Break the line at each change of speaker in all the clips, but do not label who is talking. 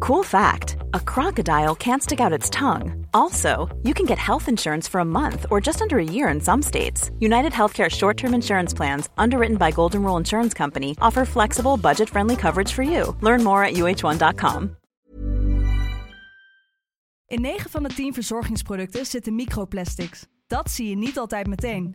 Cool fact a crocodile can't stick out its tongue. Also, you can get health insurance for a month or just under a year in some states. United Healthcare short term insurance plans, underwritten by Golden Rule Insurance Company, offer flexible, budget friendly coverage for you. Learn more at uh1.com.
In 9 van de 10 verzorgingsproducten zitten microplastics. Dat zie je niet altijd meteen.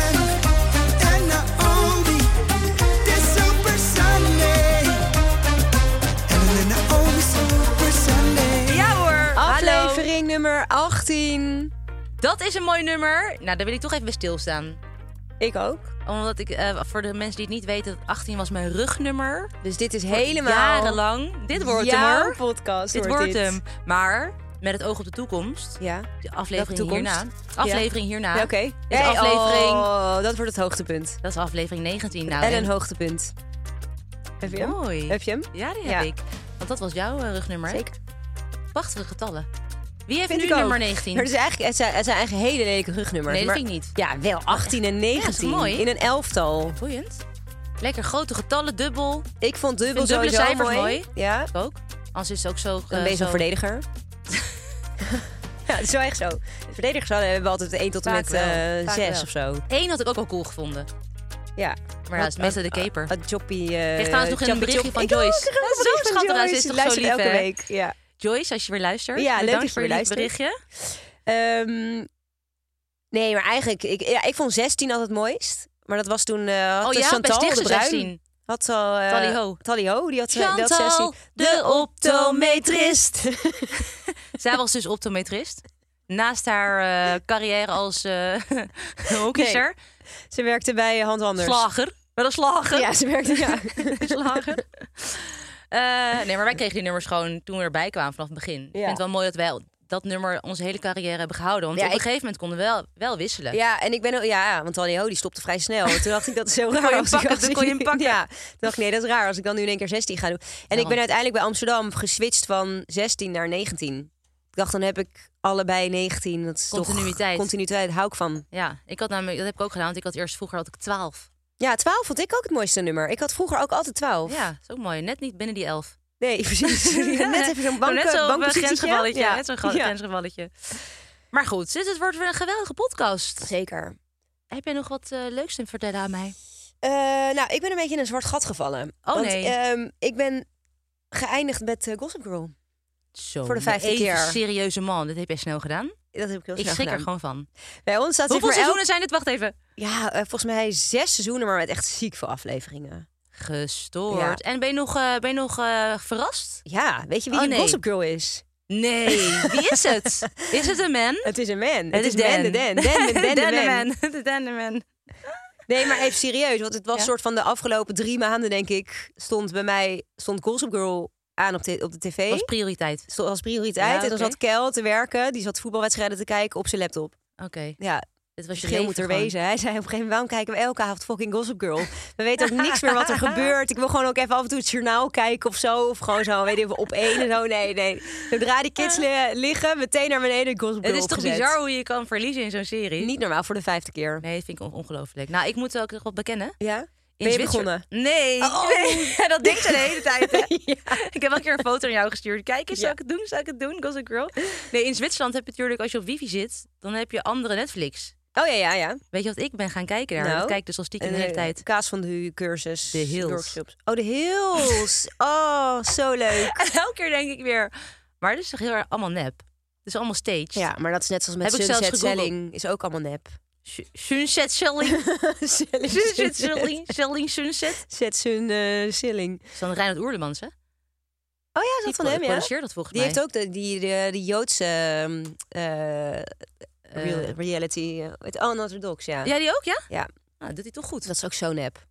And not only this Super Sunday. And then I only Super Sunday.
Ja hoor. Hallo.
Aflevering nummer 18.
Dat is een mooi nummer. Nou, daar wil ik toch even bij stilstaan.
Ik ook.
Omdat ik, eh, voor de mensen die het niet weten, 18 was mijn rugnummer.
Dus dit is helemaal
Jarenlang. Dit wordt hem
jouw
hoor.
podcast.
Dit wordt hem. Maar met het oog op de toekomst.
Ja.
De aflevering
Welke toekomst?
hierna. Aflevering hierna.
Ja, Oké.
Dit is
Hey,
aflevering.
Oh, dat wordt het hoogtepunt.
Dat is aflevering 19. Nou,
en
en-
een hoogtepunt. Heb je hem?
Mooi.
Heb je hem?
Ja, die heb
Ja.
ik. Want dat was jouw eh, rugnummer.
Zeker.
Prachtige getallen. Wie heeft
Vind
nu
ik ook.
nummer 19?
Maar het, is eigenlijk, het, zijn, het zijn eigenlijk hele lelijke rugnummers.
Nee, dat
maar-
vind ik niet.
Ja, wel 18 en 19.
mooi.
In een elftal.
Boeiend. Lekker grote getallen, dubbel.
Ik vond dubbel
Vind dubbele
sowieso
cijfers mooi.
Ja.
Ik ook. Anders is het ook zo...
Dan
eh,
ben je zo'n
zo-
verdediger. ja, het is wel echt zo. Verdedigers hadden- hebben altijd 1 tot en
Vaak
met
wel.
eh,
Vaak
6
wel.
of zo.
Eén had ik ook wel cool gevonden.
Ja.
Maar ja, dat is meestal de keper.
Het joppie... eh
Ik kreeg trouwens nog een
joppie,
berichtje
joppie.
van
Ik ook,
Joyce.
ik kreeg
Dat
een
is
bericht
zo
van
schattig,
Joyce.
ze is toch
Die
zo
luistert
lief,
elke
hè?
week. Ja.
Joyce, als je weer luistert.
Ja, leuk
bedankt
dat je
voor
weer
je
luistert.
berichtje.
Ehm, nee, maar eigenlijk... Ik, ja, ik vond 16 altijd het mooist. Maar dat was toen... eh had
Oh
de
ja,
Chantal
best
de Bruin.
16.
Had al... eh,
Tally Ho.
Tally Ho, die had, die had
Chantal,
16.
de optometrist.
optometrist.
Zij was dus optometrist. Naast haar eh, carrière als eh hockeysser.
Ze werkte bij Hand Anders.
Slager. Wel een slager.
Ja, ze werkte... Ja.
slagen. Eh, nee, maar wij kregen die nummers gewoon toen we erbij kwamen vanaf het begin. Ik vind het wel mooi dat wij dat nummer onze hele carrière hebben gehouden. Want
Ja,
op een
ik-
gegeven moment konden we wel, wel wisselen.
Ja, en ik ben ook, ja, want Tally Ho die stopte vrij snel. En toen dacht ik dat is heel raar.
kon je hem
als ik-
pakken,
als
toen
ik-
kon je hem pakken.
Ja, toen dacht ik nee, dat is raar als ik dan nu in één keer 16 ga doen. En ik ben uiteindelijk bij Amsterdam geswitcht van 16 naar 19. Ik dacht dan heb ik allebei 19. Dat is
Continuïteit.
Toch, continuïteit hou ik van.
Ja, ik had namelijk, dat heb ik ook gedaan, want ik had eerst vroeger had ik 12.
Ja, 12 vond ik ook het mooiste nummer. Ik had vroeger ook altijd 12.
Ja, dat is ook mooi. Net niet binnen die 11.
Nee, precies. net even zo'n bank,
Net zo'n eh,
bankpositietje.
grensgevalletje.
Ja.
Net zo'n gra-
Ja.
grensgevalletje. Maar goed, dit het wordt weer een geweldige podcast.
Zeker.
Heb jij nog wat eh, leuks te vertellen aan mij?
Eh, nou, ik ben een beetje in een zwart gat gevallen.
Oh,
Want,
nee.
ehm, ik ben geëindigd met eh, Gossip Girl.
Zo,
Voor de vijfde
even
keer.
serieuze man. Dit heb jij snel gedaan.
Dat heb ik heel
Ik
snel
schrik er
gedaan.
gewoon van.
Bij ons staat
Hoeveel
zeg maar elk-
seizoenen zijn dit? Wacht even.
Ja, eh, volgens mij zes seizoenen, maar met echt ziek veel afleveringen.
Gestoord. En ben je nog, eh, ben je nog eh, verrast?
Ja, weet je wie
Oh,
die
nee.
Gossip Girl is?
Nee. Wie is het? Is het een man?
Het is een man. Het,
is
is Dan de Dan. Dan de Dan
Dan
de
de
man.
man. De Dan de man.
Nee, maar even serieus, want het was
Ja?
soort van de afgelopen drie maanden, denk ik, stond bij mij stond Gossip Girl aan op de, op de tv.
was prioriteit.
Stond als prioriteit.
Ja,
En
oké.
dan zat Kel te werken, die zat voetbalwedstrijden te kijken op zijn laptop.
Oké.
Ja,
Dit was je
verschil
leven
moet er
gewoon.
wezen. Hij zei op een gegeven moment, waarom kijken we elke avond fucking Gossip Girl? We weten ook niks meer wat er gebeurt. Ik wil gewoon ook even af en toe het journaal kijken of zo. Of gewoon zo, weet je, op één en zo. Nee, nee. Zodra die kids li- liggen, meteen naar beneden Gossip Girl
Ah. Het is toch
opgezet.
bizar hoe je je kan verliezen in zo'n serie?
Niet normaal, voor de vijfde keer.
Nee, dat vind ik on- ongelooflijk. Nou, ik moet ook nog wat bekennen.
Ja?
In
ben je
Zwitser-
begonnen?
Nee.
Oh.
nee. dat denkt ze de hele tijd. Hè?
Ja.
Ik heb al een keer een foto aan jou gestuurd. Kijk eens, zou
Ja.
ik het doen? Zou ik het doen? Gossip Girl. Nee, in Zwitserland heb je natuurlijk, als je op wifi zit, dan heb je andere Netflix.
Oh ja, ja, ja.
Weet je wat ik ben gaan kijken daar?
Nou?
Ik kijk dus al stiekem de hele tijd.
Kaas van de Hu cursus.
De Hills.
Workshops. Oh, de Hills. oh, zo leuk.
En elke keer denk ik weer, maar dit is toch heel erg allemaal nep? Dit is allemaal stage.
Ja, maar dat is net zoals met
Heb ik zelfs
Sunset
gegoogeld.
Selling. Is ook allemaal nep.
Su- Sunset Selling.
Selling.
Sunset Selling. Selling Sunset.
Zet zijn eh, Selling.
Dat is dan Reinhard Oerlemans, hè?
Oh ja,
Die
is dat van hem, ja?
produceert dat volgens
Die
mij.
heeft ook de, die, de, die Joodse ehm, eh, real- reality. eh, Het uh, Unorthodox, ja.
Ja, die ook, ja?
Ja.
Nou, dat doet hij toch goed.
Dat is ook zo nep.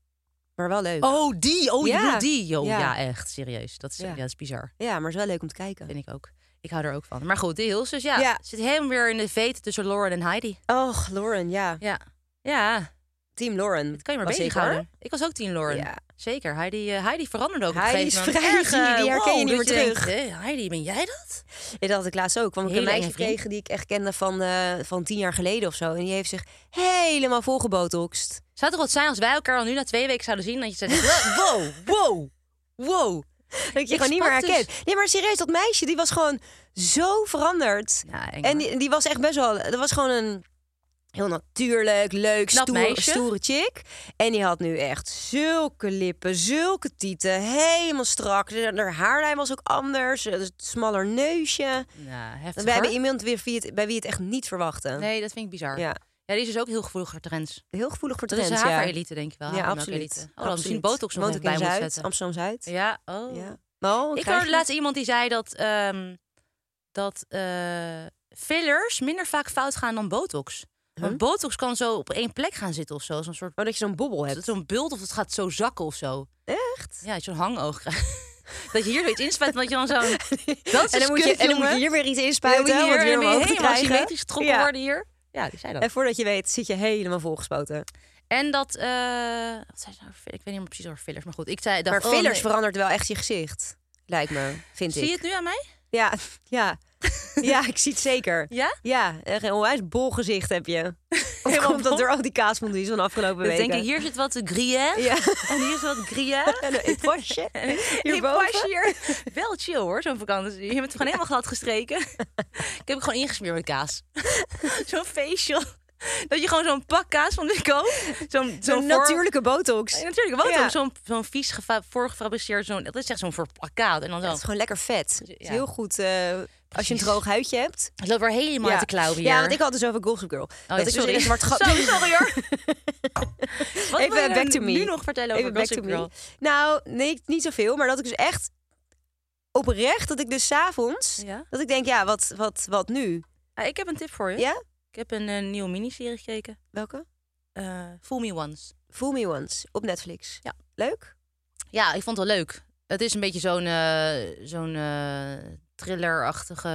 maar wel leuk.
Oh, die. Oh, je
Ja.
bedoelt die. Yo,
Ja.
ja. echt. Serieus. Dat is,
Ja.
ja. dat is bizar.
Ja, maar het is wel leuk om te kijken.
Vind ik ook. Ik hou er ook van. Maar goed, die Hilsers, ja.
Ja.
Zit helemaal weer in de veet tussen Lauren en Heidi.
Och, Lauren, ja.
Ja. Ja,
Team Lauren.
dat kan je maar
was ik,
bezighouden. Ik, was ook team Lauren.
Ja.
Zeker. Heidi, eh, Heidi veranderde ook
Heidi
op een
is
gegeven moment.
vrij,
Erg, eh,
die herken je niet
wow, dat
meer
denkt,
terug.
hé, Heidi, ben jij dat?
Ja, dat had ik laatst ook. Want ik een
Hele enge
meisje
vriend.
tegen die ik echt kende van, eh, van tien jaar geleden of zo. En die heeft zich helemaal volgebotoxed.
Zou het toch wat zijn als wij elkaar al nu na twee weken zouden zien? Dat je zegt, wow, wow, wow.
Dat je
Ik
gewoon niet meer
sprak dus-
herkent. Nee, maar serieus, dat meisje die was gewoon zo veranderd.
Ja, eng,
en
hoor.
die, die was echt best wel... Dat was gewoon een heel natuurlijk, leuk,
Knap
stoer,
meisje.
stoere chick. En die had nu echt zulke lippen, zulke tieten. Helemaal strak. Dus Haar haarlijn was ook anders. Een smaller neusje.
Ja, nou, heftig,
Bij, bij
hoor.
iemand weer wie het, bij wie het echt niet verwachten.
Nee, dat vind ik bizar. Ja.
Ja,
die is dus ook heel gevoelig voor trends.
heel gevoelig voor
Dat is
trends.
de
ja.
haverelite, denk ik wel.
Ja,
havermelk
absoluut.
elite. Oh, dan
absoluut.
misschien botox nog even
Woont ook
bij
in
moet
Zuid,
zetten.
Amsterdam-Zuid.
Ja, oh.
Ja. Mal,
Ik
krijg
hoorde
je-
laatst iemand die zei dat, ehm, dat eh, fillers minder vaak fout gaan dan botox. Want botox kan zo op één plek gaan zitten of zo. Zo'n soort
Oh, dat je zo'n bobbel
dat
hebt.
het zo'n bult of het gaat zo zakken of zo.
Echt?
Ja, dat je zo'n hangoog krijgt. dat je hier zoiets inspuit, want je dan zo'n... Dat is
en, dan moet je,
kut,
en dan moet
jongen.
je hier weer iets
Dan moet
inspuiten
je
om het
hier
weer
helemaal
omhoog te krijgen.
asymmetrisch getrokken
Ja.
worden hier. Ja, die zei dat.
En voordat je weet zit je helemaal volgespoten.
En dat... eh, wat zei ze nou? over fillers? Ik weet niet meer precies over fillers, maar goed. Ik zei, dacht,
Maar
oh,
fillers
nee.
verandert wel echt je gezicht. Lijkt me, vind
Zie je
ik.
het nu aan mij?
Ja, ja. ja, ik zie het zeker.
Ja?
Ja, echt een onwijs bol gezicht heb je. Of
Helemaal
komt dat
bol.
door al die kaasfondues van de afgelopen
Dan
weken?
denk ik, hier zit wat gruyère.
Ja.
En hier is wat gruyère.
En een pasje
Ik was
hierboven.
hier. Wel chill hoor, zo'n vakantie. Je bent gewoon helemaal glad gestreken. ik heb het gewoon ingesmeerd met kaas. zo'n facial. Dat je gewoon zo'n pak kaas van de koopt. Zo'n
Zo'n
voor-
natuurlijke botox.
Ja, natuurlijk, wat
Ja.
ook zo'n zo'n vies gefa- voorgefabriceerd, zo'n, dat is echt zo'n verplakkaat. En dan zo,
Het is gewoon lekker vet. Het is
Ja.
heel goed eh, als je een
Precies.
droog huidje hebt.
het loopt weer helemaal uit de klauw hier.
Ja, want ik had dus over Gossip Girl.
Oh,
dat ik
ja,
dus
sorry.
eerst zwart gat...
Zo, sorry hoor. Wat
Even
wil je
back to me.
nu nog vertellen over
Even back to
Gossip
me.
Girl?
Nou, nee, niet zoveel. Maar dat ik dus echt oprecht, dat ik dus s'avonds...
Ja?
Dat ik denk, ja, wat, wat, wat nu?
Ah, ik heb een tip voor je.
Ja?
Ik heb een eh, nieuwe miniserie gekeken.
Welke?
Eh Fool Me Once.
Fool Me Once op Netflix.
Ja.
Leuk?
Ja, ik vond het wel leuk. Het is een beetje zo'n eh, zo'n eh, thrillerachtige...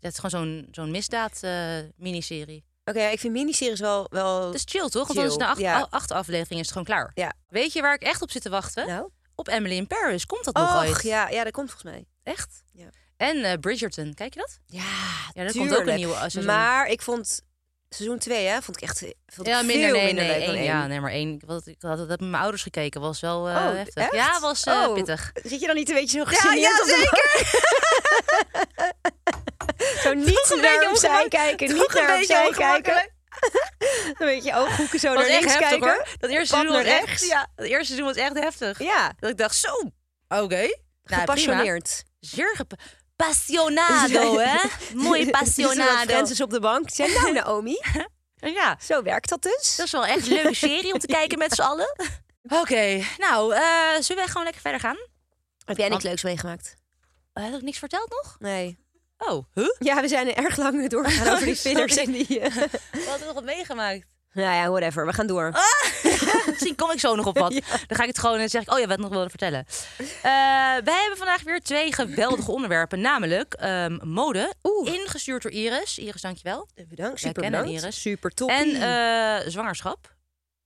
Het is gewoon zo'n zo'n misdaad-miniserie.
Oké, ja, ik vind miniseries wel... wel...
het is chill, toch? Want dan is het na acht,
Chill, ja.
a- acht afleveringen is het gewoon klaar.
Ja.
Weet je waar ik echt op zit te wachten?
Nou?
Op Emily in Paris. Komt dat nog ooit?
Och, ja, ja, dat komt volgens mij.
Echt?
Ja.
En eh, Bridgerton. Kijk je dat?
Ja,
Ja, er komt ook een
tuurlijk.
nieuwe eh, seizoen.
Maar ik vond seizoen 2, hè, vond ik echt vond ik
ja, minder,
veel
nee,
minder
nee,
leuk dan
één.
één.
Ja, nee, maar één. Ik had, ik had dat met mijn ouders gekeken. Was wel eh,
Oh,
heftig.
echt?
Ja, was eh,
Oh.
pittig.
Zit je dan niet een beetje zo gegeneerd op de bank? zo
Toch
niet
een
naar
beetje
opzij
ongemakkelijk.
kijken,
Toch
niet
een
naar
beetje
opzij kijken.
ongemakkelijk.
Een beetje ooghoeken zo
was
naar
echt
links
heftig
kijken.
hoor. Dat eerste
Pap
seizoen was
naar
echt.
rechts.
Ja, het eerste seizoen was echt heftig.
Ja,
Dat ik dacht, zo. Oké. Nou, prima.
gepassioneerd.
Zeer gepassionado, hè? Mooi passionado.
Francis op de bank. Zijn nou Naomi,
Ja,
zo werkt dat dus.
dat is wel echt een leuke serie om te kijken met z'n allen. Oké, nou, eh, zullen we gewoon lekker verder gaan?
Heb jij niks
Want-
leuks meegemaakt?
Eh, heb ik niks verteld nog?
Nee.
Oh, huh?
Ja, we zijn er erg lang doorgegaan over die fillers en die... eh,
We hadden nog wat meegemaakt.
Nou ja, whatever, we gaan door.
Misschien kom ik zo nog op wat. Dan ga ik het gewoon en zeg ik, oh ja, wat nog wilde vertellen. Eh, wij hebben vandaag weer twee geweldige onderwerpen. Namelijk ehm, mode, ingestuurd door Iris. Iris, dankjewel.
Bedankt,
Wij
super
kennen
bedankt.
Iris.
Super top.
En eh, zwangerschap.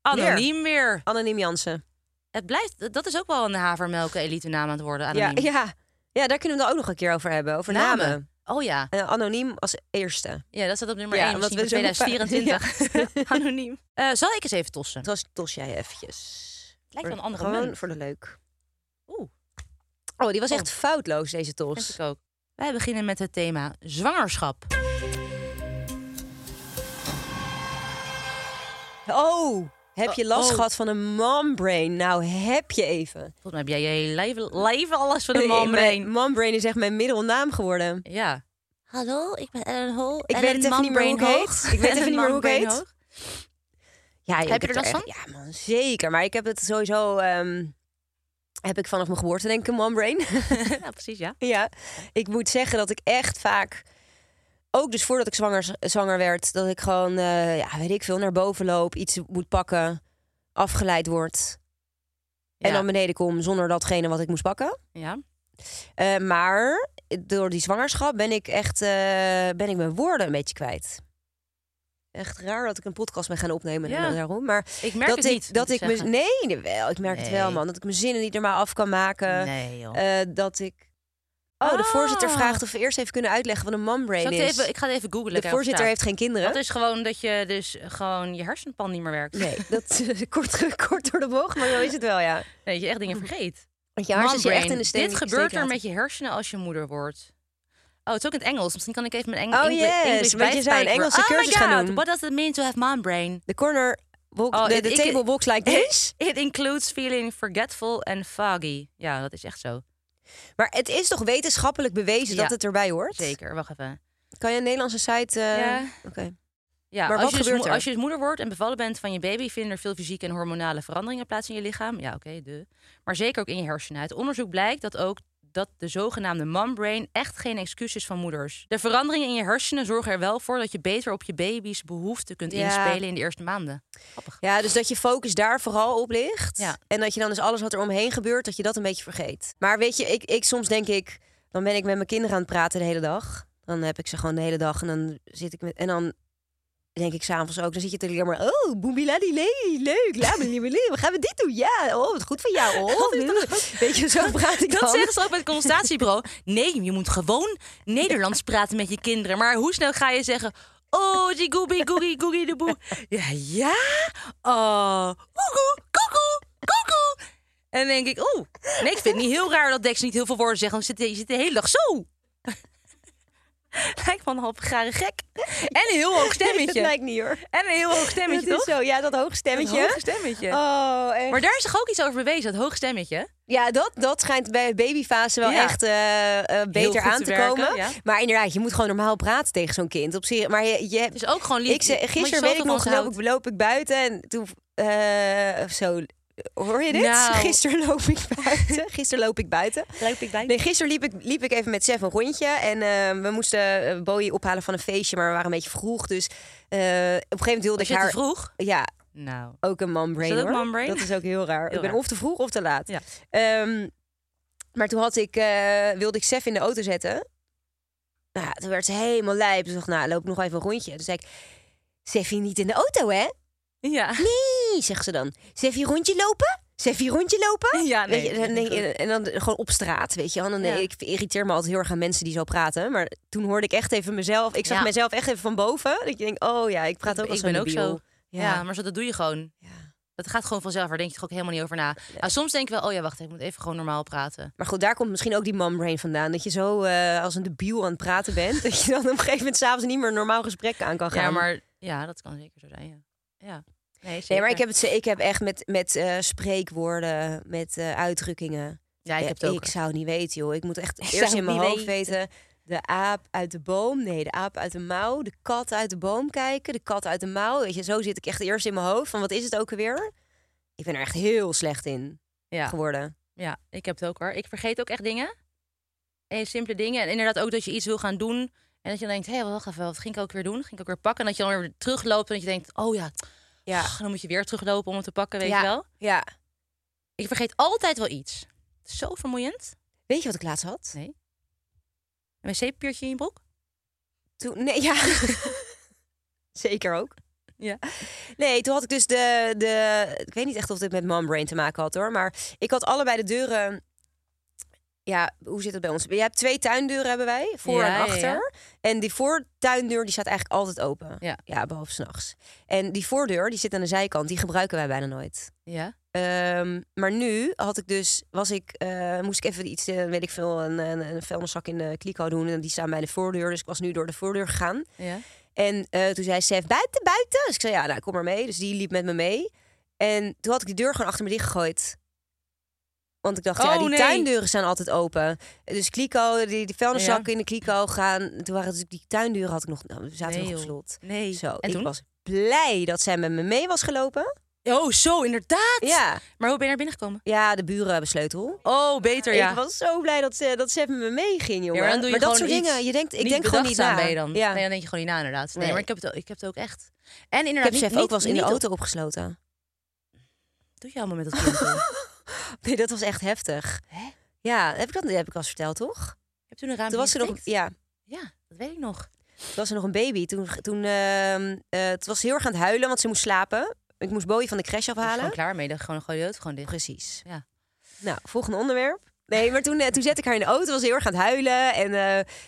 Anoniem weer.
Anoniem Jansen.
Het blijft, dat is ook wel een havermelken elite naam aan het worden.
Ja,
Anoniem.
ja. ja, daar kunnen we het ook nog een keer over hebben. Over namen.
Namen. Oh ja.
Eh, anoniem als eerste.
ja, dat staat op nummer
Ja,
1
omdat
misschien voor
we zo
2024. Anoniem. Eh, zal ik eens even tossen?
Het was Tos jij eventjes.
Lijkt wel een andere
Gewoon
munt.
voor de leuk.
Oeh,
Oh, die was echt
Oh.
foutloos, deze
vind
Tos.
ik ook. Wij beginnen met het thema zwangerschap.
Oh, heb je last
Oh.
gehad van een mombrain? Nou, heb je even.
Volgens mij heb jij je hele leven, leven alles van de
Nee,
mombrain.
mijn- Mombrain is echt mijn middelnaam geworden.
Ja. Hallo, ik ben Ellen Hol.
Ik weet het even niet meer hoe ik heet. Ik weet even niet meer hoe ik heet. Ja, ik
Heb je
het
er last
echt- Ja, man, zeker. Maar ik heb het sowieso... ehm, heb ik vanaf mijn geboorte denk ik een mombrain.
ja, precies, ja.
Ja, ik moet zeggen dat ik echt vaak, ook dus voordat ik zwanger, zwanger werd, dat ik gewoon, eh, ja, weet ik veel, naar boven loop, iets moet pakken, afgeleid word.
Ja.
En dan beneden kom zonder datgene wat ik moest pakken.
Ja.
Eh, maar door die zwangerschap ben ik echt eh, ben ik mijn woorden een beetje kwijt. Echt raar dat ik een podcast ben gaan opnemen en
Ja.
dan daarom. Maar
Ik merk
dat
het
ik,
niet.
dat
moet
ik me,
zeggen.
nee, jawel, ik merk het wel,
Nee.
man. Dat ik mijn zinnen niet normaal af kan maken.
Nee, joh.
Eh, dat ik. Oh, de voorzitter
Ah.
vraagt of we eerst even kunnen uitleggen wat een
Zal
mombrain
ik,
is.
het even, ik ga het even googlen.
de
kijken of het
voorzitter heeft
staat.
geen kinderen.
Dat is gewoon dat je dus gewoon je hersenpan niet meer werkt.
Nee, dat is eh, kort, kort door de bocht, maar zo is het wel, ja.
Nee, dat je echt dingen vergeet.
Want je hartjes je
Mombrain.
echt in de steen.
Dit gebeurt er met je hersenen als je moeder wordt. Oh, het is ook in het Engels. Misschien kan ik even mijn Eng
Oh,
Engli-
yes,
English
want je zou een
bijspijkeren.
Engelse
oh my
cursus gaan
God,
doen.
What does it mean to have mom brain?
De corner, walk-
Oh,
de,
ik-
de
ik-
table walks like this.
It includes feeling forgetful and foggy. Ja, dat is echt zo.
Maar het is toch wetenschappelijk bewezen
Ja,
dat het erbij hoort?
Zeker, wacht even.
Kan je een Nederlandse site... eh,
Ja.
Oké.
Ja,
Maar
als,
wat
je dus
gebeurt
mo-
er?
als je dus moeder wordt en bevallen bent van je baby, vinden er veel fysieke en hormonale veranderingen plaats in je lichaam. Ja, oké, de. Maar zeker ook in je hersenen. Het onderzoek blijkt dat ook dat de zogenaamde mom brain echt geen excuus is van moeders. De veranderingen in je hersenen zorgen er wel voor dat je beter op je baby's behoeften kunt
Ja.
inspelen in de eerste maanden. Grappig.
Ja, dus dat je focus daar vooral op ligt.
Ja.
En dat je dan dus alles wat er omheen gebeurt, dat je dat een beetje vergeet. Maar weet je, ik, ik soms denk ik, dan ben ik met mijn kinderen aan het praten de hele dag. Dan heb ik ze gewoon de hele dag en dan zit ik met... En dan denk ik s'avonds ook, dan zit je te leren maar... Oh, boembiladi, leuk, laat me niet meer leren. Gaan we dit doen? Ja, oh, wat goed van jou. Oh, weet je, zo praat ik dan.
Dat zeggen ze ook bij het consultatiebureau. Nee, je moet gewoon Nederlands praten met je kinderen. Maar hoe snel ga je zeggen... Oh, die goegie, goegie, goegie, de boe. Ja, ja. Oh, koekoe, koekoe, koekoe. En dan denk ik, oeh. Nee, ik vind het niet heel raar dat Dex niet heel veel woorden zegt. Want je zit, je zit de hele dag zo. Lijkt van een half gare gek. En een heel hoog
Dat
stemmetje.
lijkt niet hoor.
En een heel hoog stemmetje,
dat
toch?
is zo, ja, dat hoog stemmetje.
Een hoog stemmetje.
Oh, echt.
Maar daar is toch ook iets over bewezen, dat hoog stemmetje?
Ja, dat, dat schijnt bij babyfase wel
Ja.
echt eh, eh, beter
goed
aan
te
te,
werken,
komen.
ja.
Maar inderdaad, je moet gewoon normaal praten tegen zo'n kind. Op zich, maar je, je,
Het is ook gewoon lief.
ik, ze-
omdat Dus je
gisteren weet
zoveel van
ik nog,
ze
loop
houdt.
ik, loop ik buiten en toen... eh, zo, hoor je dit?
Nou.
Gisteren loop ik buiten. Gisteren loop ik buiten.
Loop ik bij.
Nee, gisteren liep ik, liep ik even met Sef een rondje. En eh, we moesten eh, Bowie ophalen van een feestje, maar we waren een beetje vroeg. Dus eh, op een gegeven moment
Was
wilde ik
je te
haar...
vroeg?
Ja,
Nou.
ook een man brain,
Is dat ook
hoor.
man brain?
Dat is ook heel raar.
Heel
ik ben
raar.
of te vroeg of te laat.
Ja.
Ehm, maar toen had ik, eh, wilde ik Sef in de auto zetten. Nou, ja, toen werd ze helemaal lijp. Ze dacht, nou, loop ik nog even een rondje. Toen zei ik, Seffie niet in de auto, hè?
Ja.
Nee, zegt ze dan. Seffie rondje lopen? Seffie rondje lopen?
Ja, nee,
Weet je,
dat
dan
is
denk
niet
je- en dan gewoon op straat, weet je. wel. Dan, eh,
Ja.
Ik irriteer me altijd heel erg aan mensen die zo praten. Maar toen hoorde ik echt even mezelf. Ik zag
Ja.
mezelf echt even van boven. Dat je denkt, oh ja, ik praat ook als
ik ben
zo'n
ook
debiel.
zo. Ja. maar zo, dat doe je gewoon.
Ja.
Dat gaat gewoon vanzelf. Daar denk je toch ook helemaal niet over na. Nou, soms denk ik wel, oh ja, wacht, ik moet even gewoon normaal praten.
Maar goed, daar komt misschien ook die mombrain vandaan. Dat je zo eh, als een debiel aan het praten bent. dat je dan op een gegeven moment s'avonds niet meer een normaal gesprek aan kan gaan.
Ja, maar ja, dat kan zeker zo zijn. Ja. ja. Nee, zeker.
Nee, maar ik heb, het, ze- ik heb echt met, met eh, spreekwoorden, met eh, uitdrukkingen.
Ja, ik
Ja,
heb het ook.
zou niet weten, joh. Ik moet echt
Ik zou
eerst in
het
mijn
niet
hoofd weten. De aap uit de boom. Nee, de aap uit de mouw. De kat uit de boom kijken. De kat uit de mouw. Weet je, zo zit ik echt eerst in mijn hoofd. Van wat is het ook alweer? Ik ben er echt heel slecht in
Ja.
geworden.
ja, ik heb het ook hoor. Ik vergeet ook echt dingen. En simpele dingen. En inderdaad ook dat je iets wil gaan doen. En dat je dan denkt, hé, hey, wacht even, wat ging ik ook weer doen? Ging ik ook weer pakken? En dat je dan weer terugloopt en dat je denkt, oh ja,
Ja.
dan moet je weer teruglopen om het te pakken, weet
ja.
je wel?
Ja.
Ik vergeet altijd wel iets. Zo vermoeiend.
Weet je wat ik laatst had?
Nee. Een wc-papiertje in je broek?
Toen, nee, ja. Zeker ook.
Ja.
Nee, toen had ik dus de, de... Ik weet niet echt of dit met mombrain te maken had hoor. Maar ik had allebei de deuren... Ja, hoe zit het bij ons? Je hebt twee tuindeuren hebben wij, voor
Ja, ja,
en
ja.
achter. En die voortuindeur die staat eigenlijk altijd open.
Ja.
ja behalve s'nachts. En die voordeur die zit aan de zijkant, die gebruiken wij bijna nooit.
Ja.
Ehm, maar nu had ik dus, was ik, eh, moest ik even iets, eh, weet ik veel, een, een, een vuilniszak in de kliko doen. En die staan bij de voordeur. Dus ik was nu door de voordeur gegaan.
ja.
En eh, toen zei Sef, buiten, buiten. Dus ik zei, ja, nou, kom maar mee. Dus die liep met me mee. En toen had ik die deur gewoon achter me dicht gegooid. Want ik dacht, ja,
Oh,
die
nee.
tuindeuren staan altijd open. Dus kliko, die, die vuilniszakken
Ja.
in de kliko gaan. Toen waren natuurlijk die tuindeuren had ik nog, nou, we zaten
Nee,
nog op
joh.
slot.
Nee.
Zo,
en
ik
toen?
was blij dat zij met me mee was gelopen.
Oh, zo, inderdaad.
Ja,
Maar hoe ben je naar binnen gekomen?
ja de buren hebben sleutel.
Oh, beter
Ik was zo blij dat, ze, dat Sef met me meeging, jongen.
Ja, maar dan doe je
dat
gewoon
soort
iets
dingen, je denkt, ik denk gewoon niet na.
bedachtzaam ben je dan.
Ja.
Nee, dan denk je gewoon niet na, inderdaad. Nee,
Nee.
maar ik heb, het, ook- ik heb het ook echt. En
ik
inderdaad,
heb
niet-
Sef
niet-
ook wel eens in de
niet op-
auto opgesloten.
doe je allemaal met dat kind? joh?
Nee, dat was echt heftig. Ja, heb ik dat heb ik al eens verteld, toch?
Heb toen een raam
Toen was ze nog,
dichtgetikt?
ja,
Ja, dat weet ik nog.
toen was ze nog een baby. Toen, toen, ehm, eh, toen was ze heel erg aan het huilen, want ze moest slapen. Ik moest Bowie van de crash
Ik was gewoon
afhalen.
klaar mee. Dan gewoon, gooi je het gewoon dicht.
Precies.
Ja.
Nou, volgende onderwerp. Nee, maar toen, eh, toen zette ik haar in de auto, was ze heel erg aan het huilen. En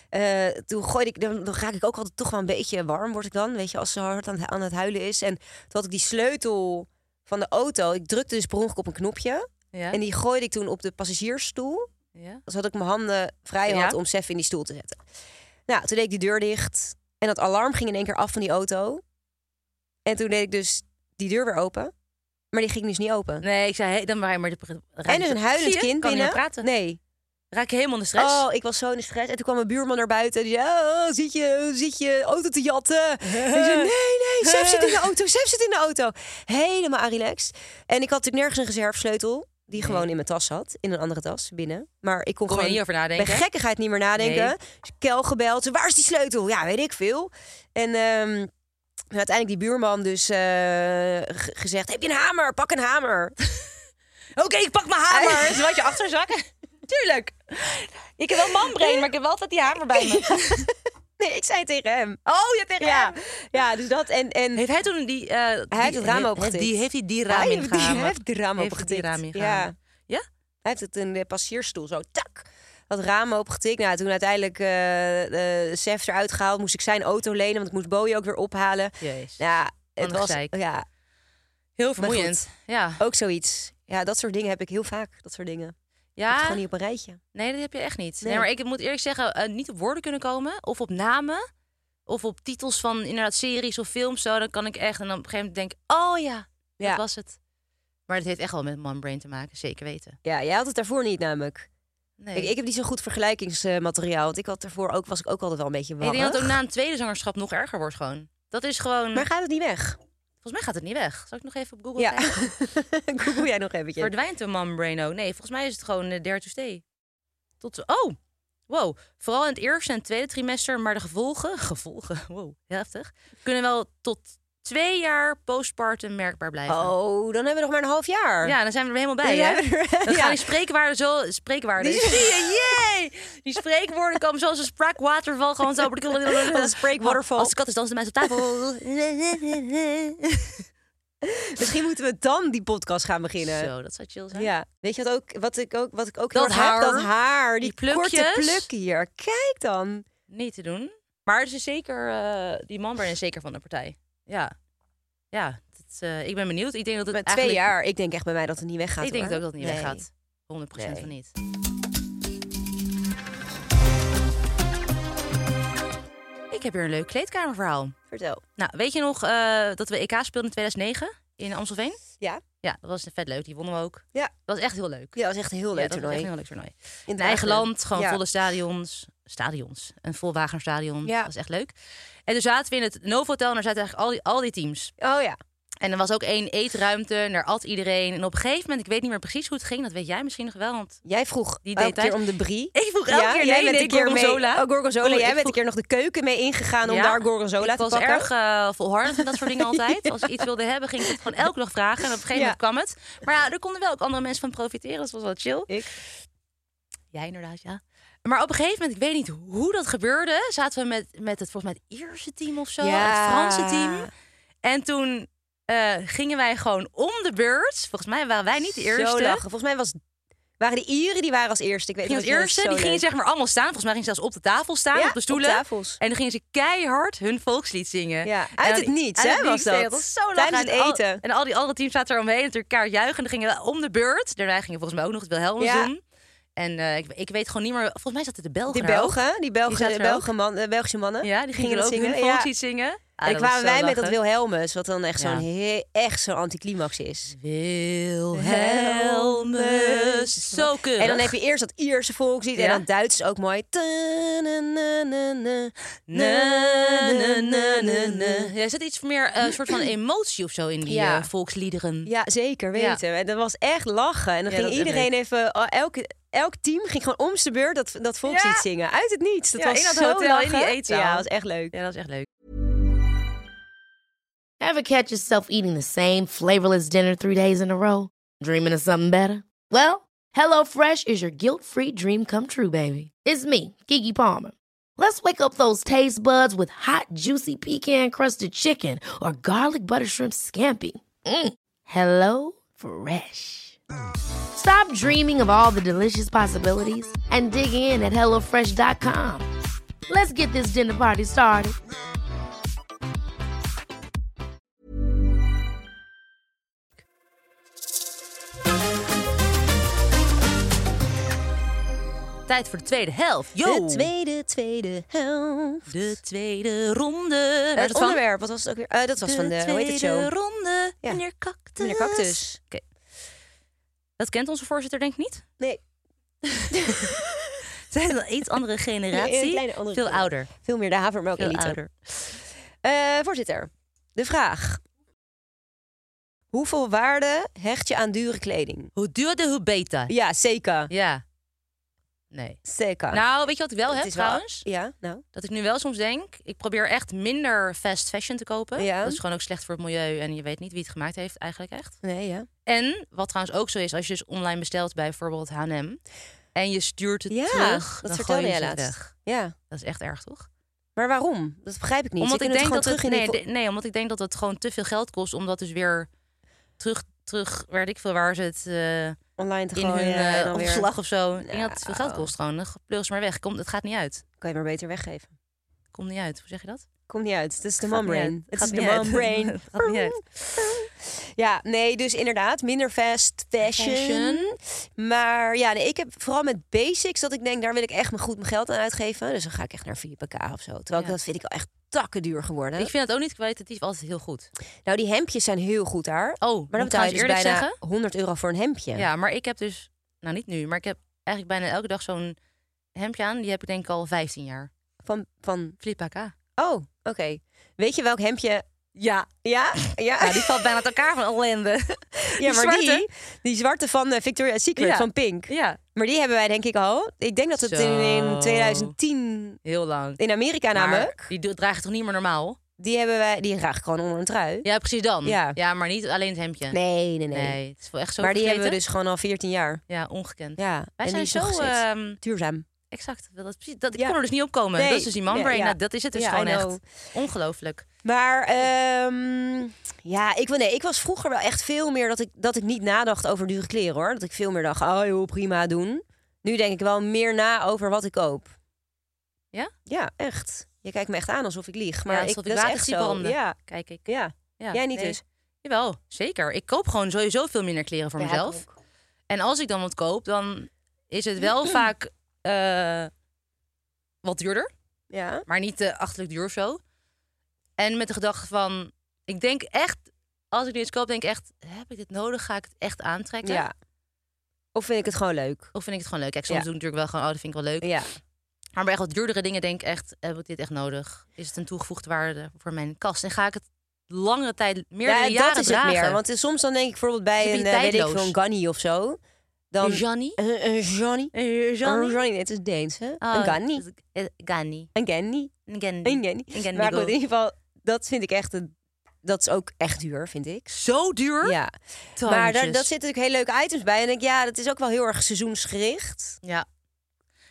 eh, eh, toen gooide ik, dan, dan raak ik ook altijd toch wel een beetje warm, word ik dan. Weet je, als ze hard aan, aan het huilen is. En toen had ik die sleutel van de auto. Ik drukte dus per ongeluk op een knopje.
Ja.
En die gooide ik toen op de passagiersstoel.
ja.
Zodat ik mijn handen vrij
Ja.
had om Sef in die stoel te zetten. Nou, toen deed ik die deur dicht. En dat alarm ging in één keer af van die auto. En toen deed ik dus die deur weer open. Maar die ging dus niet open.
Nee, ik zei, hey, dan maar maar de
En dus een huilend kind
kan niet meer
binnen.
praten.
Nee.
Raak je helemaal in de stress?
Oh, ik was zo in de stress. En toen kwam mijn buurman naar buiten. En die zei, oh, zit je, zit je auto te jatten? En ik zei, nee, nee, Sef zit in de auto. Sef zit in de auto. Helemaal relaxed. En ik had natuurlijk nergens een reservesleutel. Die gewoon in mijn tas zat. In een andere tas, binnen. Maar ik kon,
Kon je
gewoon
niet over nadenken?
bij gekkigheid niet meer nadenken.
Nee.
Dus Kel gebeld. Waar is die sleutel? Ja, weet ik veel. En... ehm, uiteindelijk die buurman dus eh, g- gezegd... heb je een hamer? Pak een hamer.
Oké, ik pak mijn hamer. Is wat je achterzakken? Tuurlijk. Ik heb wel manbrain, maar ik heb wel altijd die hamer bij me.
Nee, ik zei tegen hem.
Oh, je tegen
Ja, ja dus dat. En, en
Heeft hij toen die... eh, die-
heeft het raam
he-
opengetikt.
Die, heeft hij die
Hij
raam
heeft- die
ingehamerd?
heeft die raam
Heeft
opengetikt.
die raam
Ja.
ingehamerd? Ja?
Hij heeft het in de passagiersstoel zo, tak, dat raam opgetikt. Nou, toen uiteindelijk eh eh Sef eruit gehaald, moest ik zijn auto lenen, want ik moest Bowie ook weer ophalen.
Jezus.
Ja,
Wat
het
een
was
gezeik.
ja,
Heel
maar Oh,
vermoeiend. Ja.
ook zoiets. Ja, dat soort dingen heb ik heel vaak, dat soort dingen. Ik heb het
ja.
gewoon niet op een rijtje.
Nee, dat heb je echt niet. Nee,
Nee.
maar ik moet eerlijk zeggen, eh, niet op woorden kunnen komen. Of op namen. Of op titels van inderdaad series of films. Zo, dan kan ik echt. En dan op een gegeven moment denk ik, oh ja,
Ja.
dat was het. Maar het heeft echt wel met manbrain te maken, zeker weten.
Ja, jij had het daarvoor niet namelijk.
Nee.
Ik, ik heb niet zo'n goed vergelijkingsmateriaal, want ik had daarvoor ook, was ik ook altijd wel een beetje
Ik
warm.
denk dat het ook na een tweede zangerschap nog erger wordt gewoon. Dat is gewoon...
Maar gaat het niet weg?
Volgens mij gaat het niet weg. Zal ik nog even op Google
Ja,
kijken?
google jij nog eventjes.
Verdwijnt de manbrain ook? Nee, volgens mij is het gewoon eh, there to stay. Tot... Oh! Wow. Vooral in het eerste en tweede trimester, maar de gevolgen... Gevolgen? Wow, heftig. Kunnen wel tot twee jaar postpartum merkbaar blijven.
Oh, dan hebben we nog maar een half jaar.
Ja, dan zijn we er helemaal bij,
Dan zijn
hè?
we er-
Dan
Ja.
gaan die spreekwaarden zo... Spreekwaarden.
Die-
Zie je? Yay! Die spreekwoorden komen zoals een spraakwaterval gewoon zo...
Een spreekwaterval.
Als de kat is, dansen de mensen op tafel.
Misschien moeten we dan die podcast gaan beginnen.
Zo, dat zou chill zijn.
Ja, weet je wat, ook, wat ik ook, wat ik ook
Dat
heel erg heb?
haar.
Dat haar,
Die
die, korte
plukjes.
pluk hier. Kijk dan.
Niet te doen. Maar ze is zeker, eh, die manbrain is zeker van de partij. Ja. Ja, dat, eh, ik ben benieuwd. Ik denk dat het
Met twee
eigenlijk-
jaar. Ik denk echt bij mij dat het niet weggaat.
Ik denk
hoor.
ook dat het niet
Nee.
weggaat. 100% van
Nee.
niet. Ik heb hier een leuk kleedkamerverhaal.
Vertel.
Nou, weet je nog eh, dat we EK speelden in 2009 in Amstelveen?
Ja.
Ja, dat was vet leuk. Die wonnen we ook.
Ja.
Dat was echt heel leuk.
Ja, dat was echt een heel
Ja,
leuk
dat was
toernooi.
echt een heel leuk toernooi.
In
In eigen
Drachten.
land, gewoon
Ja.
volle stadions. Stadions. Een vol Wagenerstadion.
Ja.
Dat was echt leuk. En toen zaten we in het Novo Hotel en daar zaten eigenlijk al die, al die teams.
Oh ja.
En er was ook één eetruimte en daar at iedereen. En op een gegeven moment, ik weet niet meer precies hoe het ging. Dat weet jij misschien nog wel, want...
Jij vroeg
Die
die elke
details.
keer om de brie.
Ik vroeg
Ja,
elke keer,
jij
nee,
bent
nee,
een keer
gorgonzola.
Mee, oh, gorgonzola.
Oh, ik
jij bent
vroeg-
een keer nog de keuken mee ingegaan om
Ja,
daar gorgonzola
ik
te pakken.
was erg eh, volhardend met dat soort dingen altijd. Als ik iets wilde hebben, ging ik het gewoon elke dag vragen. En op een gegeven
Ja.
moment kwam het. Maar ja, er konden wel ook andere mensen van profiteren. Dus dat was wel chill.
Ik.
Jij inderdaad, ja. Maar op een gegeven moment, ik weet niet hoe dat gebeurde, zaten we met, met het volgens mij het Ierse team of zo,
Ja.
het Franse team. En toen eh, gingen wij gewoon om de beurt. Volgens mij waren wij niet de eerste.
Zo lachen. Volgens mij was, waren de Ieren die waren als eerste. Ik weet
Gingen
niet
als eerste, die gingen zeg maar allemaal staan. Volgens mij gingen ze zelfs op de tafel staan,
Ja,
op de
op
stoelen.
tafels.
En dan gingen ze keihard hun volkslied zingen.
Ja,
En
uit
dan-
het niets,
uit
hè,
het
was
niets,
dat.
ja, was zo
Tijdens
lachen. En
het
al-
eten.
en al die andere teams zaten eromheen natuurlijk kaart juichen. En dan gingen we om de beurt. Daarna gingen volgens mij ook nog het Wilhelmus
Ja.
doen. En eh, ik, ik weet gewoon niet meer. Volgens mij zaten de Belgen.
Die
er ook.
Belgen, die
Die
Belgen,
zaten er
Belgen man, eh, Belgische mannen.
Ja, die gingen,
dat
ook hun
ja.
volkslied zingen. Ah,
En
dat
dan
was
kwamen
zo
wij met dat
lachen.
Wilhelmus, wat dan echt
Ja.
zo'n he- echt zo'n anticlimax is.
Wilhelmus. Zo keurig.
En dan heb je eerst dat Ierse volkslied
Ja.
en dan Duits is ook mooi. Ta-na-na-na-na.
Na, na, na, na, na. Ja, Er zit iets meer eh, soort van emotie of zo in die
Ja.
eh, volksliederen.
Ja, zeker weten. En dat was echt lachen. En dan
Ja,
ging
dat heb
iedereen even, oh, elke, elk team ging gewoon om zijn beurt dat, dat volkslied
Ja.
zingen. Uit het niets. Dat
Ja,
was
in dat
zo
hotel, in die
lachen.
eetzaal.
Ja, dat was echt leuk.
Ja, dat is echt leuk.
Ever catch yourself eating the same flavorless dinner three days in a row? Dreaming of something better? Well, HelloFresh is your guilt-free dream come true, baby. It's me, Kiki Palmer. Let's wake up those taste buds with hot, juicy pecan-crusted chicken or garlic butter shrimp scampi. Mm. Hello Fresh. Stop dreaming of all the delicious possibilities and dig in at hellofresh.com. Let's get this dinner party started.
Tijd voor de tweede helft. Yo!
De tweede, tweede helft.
De tweede ronde. Waar is
het
van?
onderwerp, wat was het ook weer? Eh, dat was van de, hoe heet
tweede
het show?
ronde.
Ja.
Meneer Cactus.
Meneer Cactus.
Oké. Dat kent onze voorzitter denk ik niet.
Nee,
Zij is wel iets andere generatie.
een kleine andere
Veel
kleur.
ouder.
veel meer de havermelk
Veel
elite.
ouder.
Eh, voorzitter, de vraag. Hoeveel waarde hecht je aan dure kleding?
Hoe duurder, hoe beter.
Ja, zeker.
Ja. Nee.
Zeker.
Nou, weet je wat ik wel
Het
heb
is wel-
trouwens?
Ja, nou.
Dat ik nu wel soms denk, ik probeer echt minder fast fashion te kopen.
Ja.
Dat is gewoon ook slecht voor het milieu en je weet niet wie het gemaakt heeft eigenlijk echt.
Nee, ja.
En wat trouwens ook zo is, als je dus online bestelt bij bijvoorbeeld H&M en je stuurt het
Ja,
terug,
dat
dan
vertelde
gooi je
jij
ze
laatst.
weg.
Ja.
Dat is echt erg, toch?
Maar waarom? Dat begrijp ik niet.
omdat
Ze
ik
kunnen
denk dat
het
het,
gewoon terug
nee,
in die
de- nee, omdat ik denk dat het gewoon te veel geld kost om dat dus weer terug, terug, weet ik veel waar ze het eh,
vo- online te
in
gooien.
hun
en
eh,
dan weer-
opslag of zo. Ik denk dat het veel geld
Nou.
kost gewoon. Dan pleur ze maar weg. Komt, het gaat niet uit.
Kan je maar beter weggeven.
Komt niet uit. Hoe zeg je dat?
Komt niet uit. Het is de
Gaat
mom
niet
brain.
uit.
Het
Gaat
is de
niet uit.
mom brain.
Het gaat niet uit.
Ja, nee, dus inderdaad, minder fast fashion.
Fashion.
Maar ja, nee, ik heb vooral met basics dat ik denk, daar wil ik echt mijn goed mijn geld aan uitgeven. Dus dan ga ik echt naar Philippe K of zo. Terwijl ik
Ja.
dat vind ik al echt takken duur geworden.
Ik vind het ook niet kwalitatief altijd heel goed.
Nou, die hemdjes zijn heel goed daar.
Oh, moet
maar dan
ik
betaal je
trouwens
dus
eerlijk
bijna
zeggen?
100 euro voor een hemdje.
Ja. maar ik heb dus, nou niet nu, maar ik heb eigenlijk bijna elke dag zo'n hemdje aan. Die heb ik denk ik al 15 jaar.
Van, van,
Flippa K.
oh, oké. Weet je welk hemdje? Ja. Ja? Ja,
Ja, Nou, die valt bijna uit elkaar van ellende.
ja maar
zwarte.
die, die zwarte van eh, Victoria's Secret,
Ja.
van Pink.
Ja,
Maar die hebben wij denk ik al. Ik denk dat het in, in
Zo.
2010
heel lang.
in Amerika
Maar
namelijk.
die do- draag je toch niet meer normaal?
Die hebben wij, die draag ik gewoon onder een trui.
Ja, precies dan.
Ja.
maar niet alleen het hemdje.
Nee, nee, nee.
Nee, het is wel echt zo
maar die hebben we
versleten.
dus gewoon al 14 jaar.
Ja, ongekend.
Ja,
Wij
en die
zijn
is nog
zo...
steeds
ehm,
duurzaam.
exact. Dat, is precies, dat, ik
Ja.
kon er dus niet op komen.
Nee,
Dat is dus die man
nee,
brain.
ja.
Nou, dat is het dus
Ja,
gewoon
I know.
echt. Ongelooflijk.
Maar ehm, ja, ik, wil- nee, ik was vroeger wel echt veel meer dat ik, dat ik niet nadacht over dure kleren hoor. Dat ik veel meer dacht, oh joh, prima doen. Nu denk ik wel meer na over wat ik koop.
Ja?
Ja, echt. Je kijkt me echt aan alsof ik lieg. Maar
Ja,
ik,
alsof ik
dat is
water
echt
zie
zo.
branden.
Ja,
Kijk ik.
ja.
Ja,
Jij niet
nee.
dus.
Jawel, zeker. Ik koop gewoon sowieso veel minder kleren voor
Ja, ik
mezelf.
ook.
En als ik dan wat koop, dan is het wel vaak eh, wat duurder.
Ja.
Maar niet te achterlijk duur of zo. En met de gedachte van, ik denk echt, als ik nu iets koop, denk ik echt, heb ik dit nodig? Ga ik het echt aantrekken?
ja. Of vind ik het gewoon leuk?
Of vind ik het gewoon leuk? Kijk, soms
Ja.
doe ik natuurlijk wel gewoon, oh, dat vind ik wel leuk.
Ja.
Maar bij echt wat duurdere dingen denk ik echt, heb ik dit echt nodig? Is het een toegevoegde waarde voor mijn kast? En ga ik het langere tijd, meerdere
ja,
jaren
dat is
dragen?
het meer. Want eh, soms dan denk ik bijvoorbeeld bij
Zit
een,
niet
eh, weet ik
tijdloos.
veel, een Gunny of zo. Dan, Eh,
Johnny?
Een- een Johnny. Een Johnny, nee, het is Deens, hè? een
Gani.
Gunny. Een Ganny.
Een Gandhi.
Een Ganny.
Een Gandhi
Maar goed,
girl.
in ieder geval, dat vind ik echt... Een, dat is ook echt duur, vind ik.
Zo duur?
Ja. Maar daar, dat zitten natuurlijk hele leuke items bij. En ik, ja, dat is ook wel heel erg seizoensgericht.
Ja,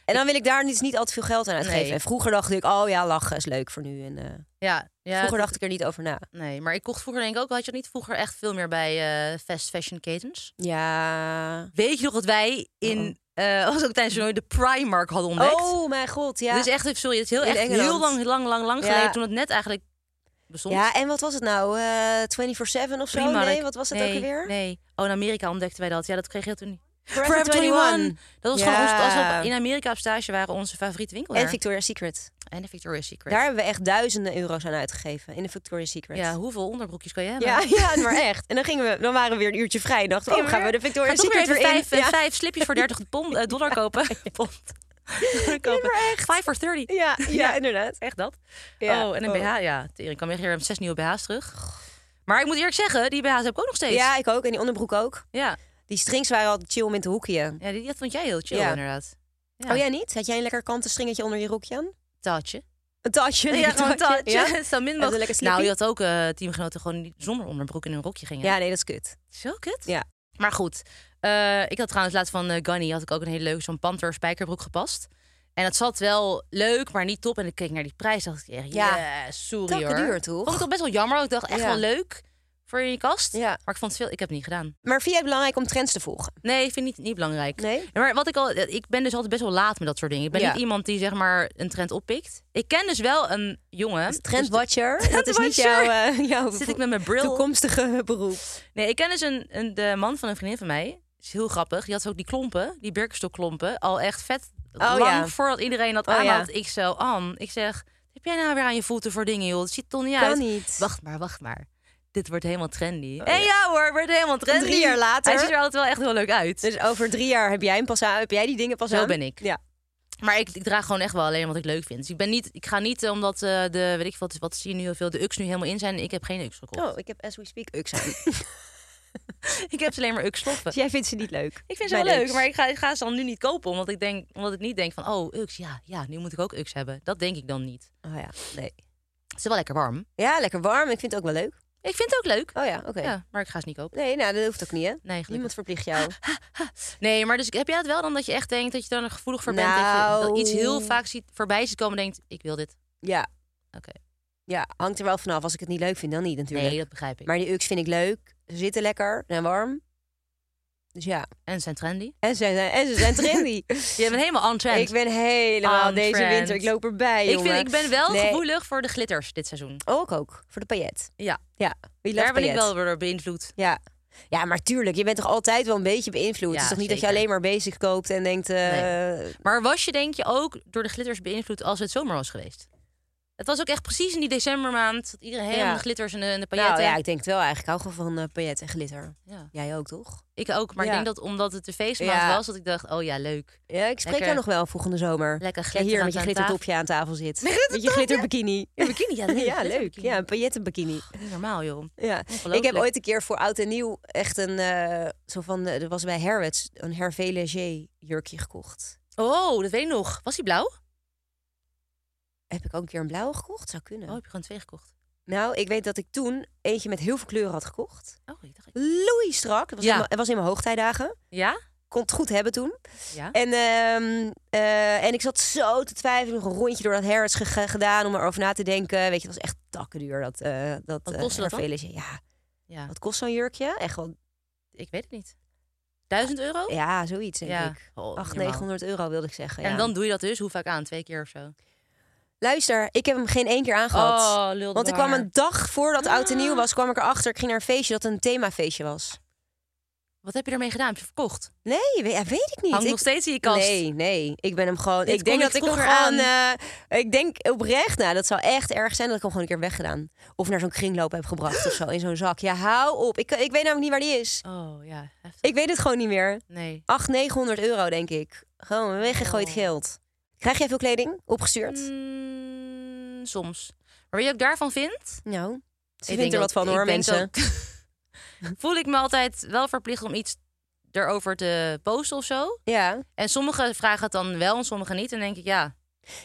En dan wil ik daar dus niet al te veel geld aan uitgeven.
Nee.
En vroeger dacht ik, oh ja, lachen is leuk voor nu. En, eh,
ja, ja.
vroeger
dat-
dacht ik er niet over na.
Nee, maar ik kocht vroeger denk ik ook, had je dat niet vroeger echt veel meer bij eh fast fashion ketens?
Ja.
Weet je nog dat wij in, eh was ook tijdens toernooi, de Primark hadden ontdekt?
Oh mijn god, ja.
Dit is echt, sorry, het is heel,
In
echt heel
Engeland.
lang, lang, lang, lang
Ja.
geleden toen het net eigenlijk bestond.
Ja, en wat was het nou? Eh 24-7 of zo?
Primark.
Nee, wat was het
Nee,
ook alweer?
Nee, oh, in Amerika ontdekten wij dat. Ja, dat kreeg je toen niet.
Forever 21.
Dat was
Ja.
gewoon, ons, als we op- in Amerika op stage waren, onze favoriete winkel
En
daar.
Victoria's Secret.
en de Victoria's Secret.
Daar hebben we echt duizenden euro's aan uitgegeven. In de Victoria's Secret.
Ja, hoeveel onderbroekjes kan je hebben?
ja, ja, maar echt. En dan, gingen we, dan waren we weer een uurtje vrij. En dachten, we, oh, gaan we de Victoria's
Ga toch
Secret
weer
weer
even
in?
vijf, eh, vijf slipjes voor 30 pond, eh, dollar kopen. Pond. Dollar kopen. Vijf voor 30.
Ja, ja, ja, inderdaad.
Echt dat?
Ja.
Oh, en een
Oh.
BH, ja. Tering, ik kan weer hier zes nieuwe BH's terug. Maar ik moet eerlijk zeggen, die BH's heb ik ook nog steeds.
Ja, ik ook. En die onderbroek ook.
ja.
Die strings waren al chill om in te hoekje.
Ja, die, dat vond jij heel chill
Ja.
inderdaad. Ja.
Oh, jij niet? Had jij een lekker kanten stringetje onder je rokje aan?
Taatje.
Een tasje?
Ja, gewoon een taatje.
Ja?
Zo min
een
mogelijk.
lekker
Nou,
slippie?
je had ook eh, teamgenoten gewoon die zonder onderbroek in hun rokje gingen.
Ja, nee, dat is kut.
Zo kut.
Ja.
Maar goed, eh, ik had trouwens laatst van eh, Gunny had ik ook een hele leuke zo'n panter spijkerbroek gepast. En dat zat wel leuk, maar niet top. En ik keek naar die prijs dacht ik echt, ja,
Ja.
sorry
Takken
hoor.
duur, toch?
Vond ik toch best wel jammer. want Ik dacht echt
Ja.
wel leuk voor in je kast.
Ja.
Maar ik vond het veel, ik heb het niet gedaan.
Maar vind jij het belangrijk om trends te volgen?
Nee, ik vind het niet, niet belangrijk.
Nee?
Ja, Maar wat ik al, ik ben dus altijd best wel laat met dat soort dingen. Ik ben
Ja.
niet iemand die zeg maar een trend oppikt. Ik ken dus wel een jongen. dus
Trendwatcher, dat is niet jouw,
Trendwatcher.
eh, jouw
Zit ik met mijn bril?
toekomstige beroep.
Nee, ik ken dus een, een, de man van een vriendin van mij. Is heel grappig. Die had ook die klompen, die Birkenstock klompen, al echt vet lang
Oh, ja.
voordat iedereen dat
Oh,
aan
ja.
had. Ik zo, An, ik zeg, "Wat heb jij nou weer aan je voeten voor dingen, joh? Het ziet er toch niet
Kan
uit.
niet. Oh,
Wacht maar, wacht maar. Dit wordt helemaal trendy. en ja hoor, wordt helemaal trendy.
Drie jaar later.
Hij ziet er altijd wel echt heel leuk uit.
Dus over drie jaar heb jij, een pas aan, heb jij die dingen pas
Zo
aan?
ben ik.
Ja.
Maar ik, ik draag gewoon echt wel alleen wat ik leuk vind. Dus ik, ben niet, ik ga niet eh, omdat eh, de, weet ik wat, wat zie je nu heel veel, de UX nu helemaal in zijn. Ik heb geen UX gekocht.
Oh, ik heb As We Speak Ux aan.
Ik heb ze alleen maar UX sloffen.
Dus jij vindt ze niet leuk?
Ik vind ze wel
Mijn
leuk,
Ux.
maar ik ga, ik ga ze dan nu niet kopen. Omdat ik, denk, omdat ik niet denk van, oh, UX, ja, ja, nu moet ik ook UX hebben. Dat denk ik dan niet.
Oh ja, nee.
Het is wel lekker warm.
Ja, lekker warm. Ik vind het ook wel leuk.
Ik vind het ook leuk.
Oh ja, oké.
Ja, maar ik ga ze niet kopen.
Nee, nou, dat hoeft ook niet, hè?
gelukkig.
Niemand verplicht jou.
Nee, maar dus heb jij het wel dan dat je echt denkt dat je dan er gevoelig voor bent? Dat je
Nou.
dat iets heel vaak ziet, voorbij ziet komen en denkt, ik wil dit.
Ja,
Oké,
ja, hangt er wel vanaf. Als ik het niet leuk vind, dan niet natuurlijk.
nee, dat begrijp ik.
Maar die UX vind ik leuk. Ze zitten lekker en warm. Dus ja.
En ze zijn trendy.
En ze zijn, en ze zijn trendy.
Je bent helemaal on trend.
Ik ben helemaal
On
deze
trend.
winter. Ik loop erbij,
Ik, vind,
jongen.
ik ben wel
Nee.
gevoelig voor de glitters dit seizoen.
Ook ook. Voor de paillet.
Ja,
Ja. Wie
daar
loves
ben ik
paillet?
wel door beïnvloed.
Ja. Ja, maar tuurlijk. Je bent toch altijd wel een beetje beïnvloed.
Ja,
het is toch niet dat
zeker.
je alleen maar basic koopt en denkt... eh,
Nee. Maar was je denk je ook door de glitters beïnvloed als het zomer was geweest? Het was ook echt precies in die decembermaand dat iedereen helemaal
Ja.
de glitters en de, en de
Nou
pailletten.
ja, ik denk het wel eigenlijk. Ik hou gewoon van eh, paillet en glitter.
Ja.
Jij ook, toch?
Ik ook, maar ik
Ja.
denk dat omdat het de feestmaand
Ja.
was, dat ik dacht, oh ja, leuk.
Ja, ik spreek
Lekker.
jou nog wel volgende zomer.
Lekker
Ja,
glitterend
hier met je
aan
glittertopje aan tafel zit.
glittertopje?
Met je glitterbikini.
Een bikini, ja, leuk. Net
Ja,
een
leuk.
bikini.
Ja, een paillettenbikini.
Niet normaal, joh.
Ja. Ik heb
Ongelooflijk.
ooit een keer voor oud en nieuw echt een... eh, zo van, eh, er was bij Herwets een Hervé Léger jurkje gekocht.
Oh, dat weet ik nog. Was hij blauw?
Heb ik ook een keer een blauwe gekocht? Zou kunnen.
Oh, heb je gewoon twee gekocht?
Nou, ik weet dat ik toen eentje met heel veel kleuren had gekocht.
Oh, ik dacht... ik-
Louis strak. Dat was,
Ja.
in mijn- het was in mijn hoogtijdagen.
Ja?
Kon het goed hebben toen.
Ja?
En, ehm, eh, en ik zat zo te twijfelen. Nog een rondje door dat Harrods ge- ge- gedaan om erover na te denken. Weet je, het was echt takkenduur. Dat, eh dat,
Wat
eh,
kostte dat dan?
Hervé Léger. Ja,
Ja,
wat kost zo'n jurkje? Echt wel,
ik weet het niet. Duizend euro?
ja, zoiets denk
Oh. Ja.
ik.
Oh, niet
800,
normaal.
900 euro wilde ik zeggen.
En
ja.
dan doe je dat dus, hoe vaak aan? Twee keer of zo?
Luister, ik heb hem geen één keer aangehad.
Oh, Ah. lul de
Want ik kwam
waar.
een dag voordat Oud en Nieuw was, kwam ik erachter. Ik ging naar een feestje dat een themafeestje was.
Wat heb je ermee gedaan? Heb je verkocht?
Nee, weet, ja, weet ik niet.
Hangt
ik,
nog steeds in je kast.
Nee, nee. Ik ben hem gewoon...
Dit
ik denk
kon
dat
ik
ik hem
vroeger
gewoon... eh, ik denk oprecht, nou, dat zou echt erg zijn dat ik hem gewoon een keer weggedaan. Of naar zo'n kringloop heb gebracht of zo, in zo'n zak. Ja, hou op. Ik, ik weet namelijk niet waar die is.
Oh, ja. Heftig.
Ik weet het gewoon niet meer.
Nee.
800, 900 euro, denk ik. Gewoon weggegooid
Oh.
geld. Krijg jij veel kleding opgestuurd?
Mm, soms. Maar wat je ook daarvan vindt...
Nou, ze
Ik
vindt
denk
er
dat-
wat van
ik
hoor,
denk
mensen.
dat- voel ik me altijd wel verplicht om iets erover te posten of zo.
Ja.
En sommigen vragen het dan wel en sommigen niet. En dan denk ik, ja,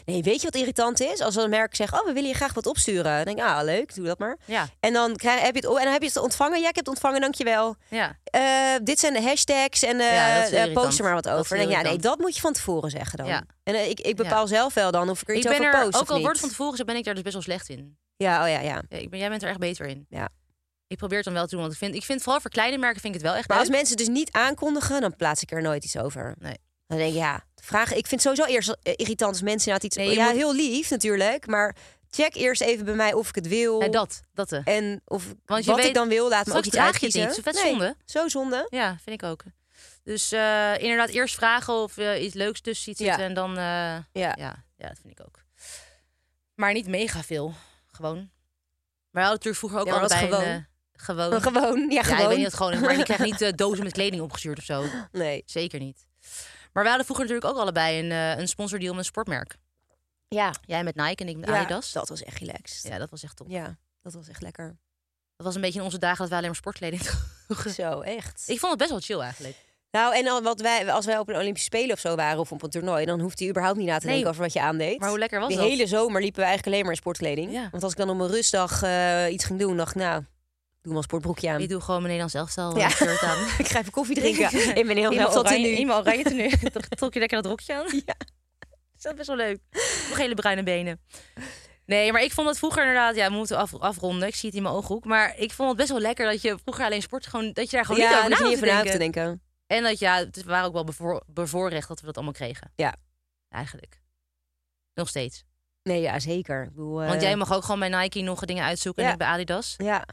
Nee, weet je wat irritant is? Als een merk zegt, oh, we willen je graag wat opsturen. Dan denk ik, ah, leuk, doe dat maar.
ja,
En dan, krijg, heb je het, en dan heb je het ontvangen. Ja, ik heb het ontvangen, dankjewel.
ja.
Eh, dit zijn de hashtags en eh
Ja, dat is heel
eh,
irritant.
post er maar wat
Dat is
over.
heel
Dan denk ik, ja, nee,
irritant.
dat moet je van tevoren zeggen dan.
Ja.
En eh, ik, ik bepaal zelf wel dan of ik er
Ik
iets
ben
over
er,
post
ook
of
al
niet.
wordt het van tevoren gezegd, ben ik daar dus best wel slecht in.
Ja, oh ja, ja.
Ja, ik ben, jij bent er echt beter in.
ja.
Ik probeer het dan wel te doen, want ik vind, ik vind vooral voor kleine merken vind ik het wel echt
Maar als
leuk.
mensen dus niet aankondigen, dan plaats ik er nooit iets over.
Nee.
Dan denk ik, ja, vraag, ik vind het sowieso eerst eh, irritant als mensen inderdaad iets...
Nee, je
ja,
moet-
heel lief natuurlijk, maar check eerst even bij mij of ik het wil.
Ja, dat, dat eh.
En of
Want je
wat
weet-
ik dan wil, laat me ook
straks
iets
draag je het
uitkiezen.
niet. Zo vet
Nee,
zonde.
Zo zonde.
Ja, vind ik ook. Dus eh, inderdaad, eerst vragen of eh, iets leuks tussen ziet
Ja.
zitten en dan... eh,
Ja.
ja. Ja, dat vind ik ook. Maar niet mega veel, gewoon. Maar we hadden natuurlijk vroeger ook
Ja, maar wat
allebei een,
gewoon?
eh, gewoon.
Maar Gewoon, ja,
Ja,
gewoon.
ik weet niet wat gewoon is, maar ik krijg niet eh, dozen met kleding opgestuurd of zo.
Nee.
Zeker niet. Maar we hadden vroeger natuurlijk ook allebei een, eh, een sponsordeal met een sportmerk.
Ja.
Jij met Nike en ik met
Ja,
Adidas.
dat was echt relaxed.
Ja, dat was echt top.
Ja, dat was echt lekker.
Dat was een beetje in onze dagen dat we alleen maar sportkleding droegen.
Zo, echt.
Ik vond het best wel chill eigenlijk.
Nou, en al wat wij, als wij op een Olympische Spelen of zo waren of op een toernooi, dan hoeft hij überhaupt niet na te
Nee.
denken over wat je aandeed.
Maar hoe lekker was
Die
dat?
hele zomer liepen we eigenlijk alleen maar in sportkleding.
Ja.
Want als ik dan op een rustdag eh, iets ging doen, dacht ik, nou, Doe maar sportbroekje aan.
Ik doe gewoon mijn Nederlands elftal
Ja.
eh, shirt aan.
Ik ga even koffie drinken. Ik ben heel
In mijn
veel tot
Oh, oranje,
nu.
in mijn oranje tenue. Toch Trok je lekker dat rokje aan? Ja. Is dat best wel leuk. Nog hele bruine benen. Nee, maar ik vond dat vroeger inderdaad... Ja, we moeten af, afronden. Ik zie het in mijn ooghoek. Maar ik vond het best wel lekker dat je vroeger alleen sport... Gewoon, dat je daar gewoon niet
ja,
over
dat
na
je
hoeft
niet
te
even na hoeft
denken.
te denken.
En dat ja, het- we waren ook wel bevoor, bevoorrecht dat we dat allemaal kregen.
Ja.
Eigenlijk. Nog steeds.
Nee, ja, zeker. Ik bedoel, eh,
Want jij mag ook gewoon bij Nike nog dingen uitzoeken
ja.
en ik bij Adidas.
Ja.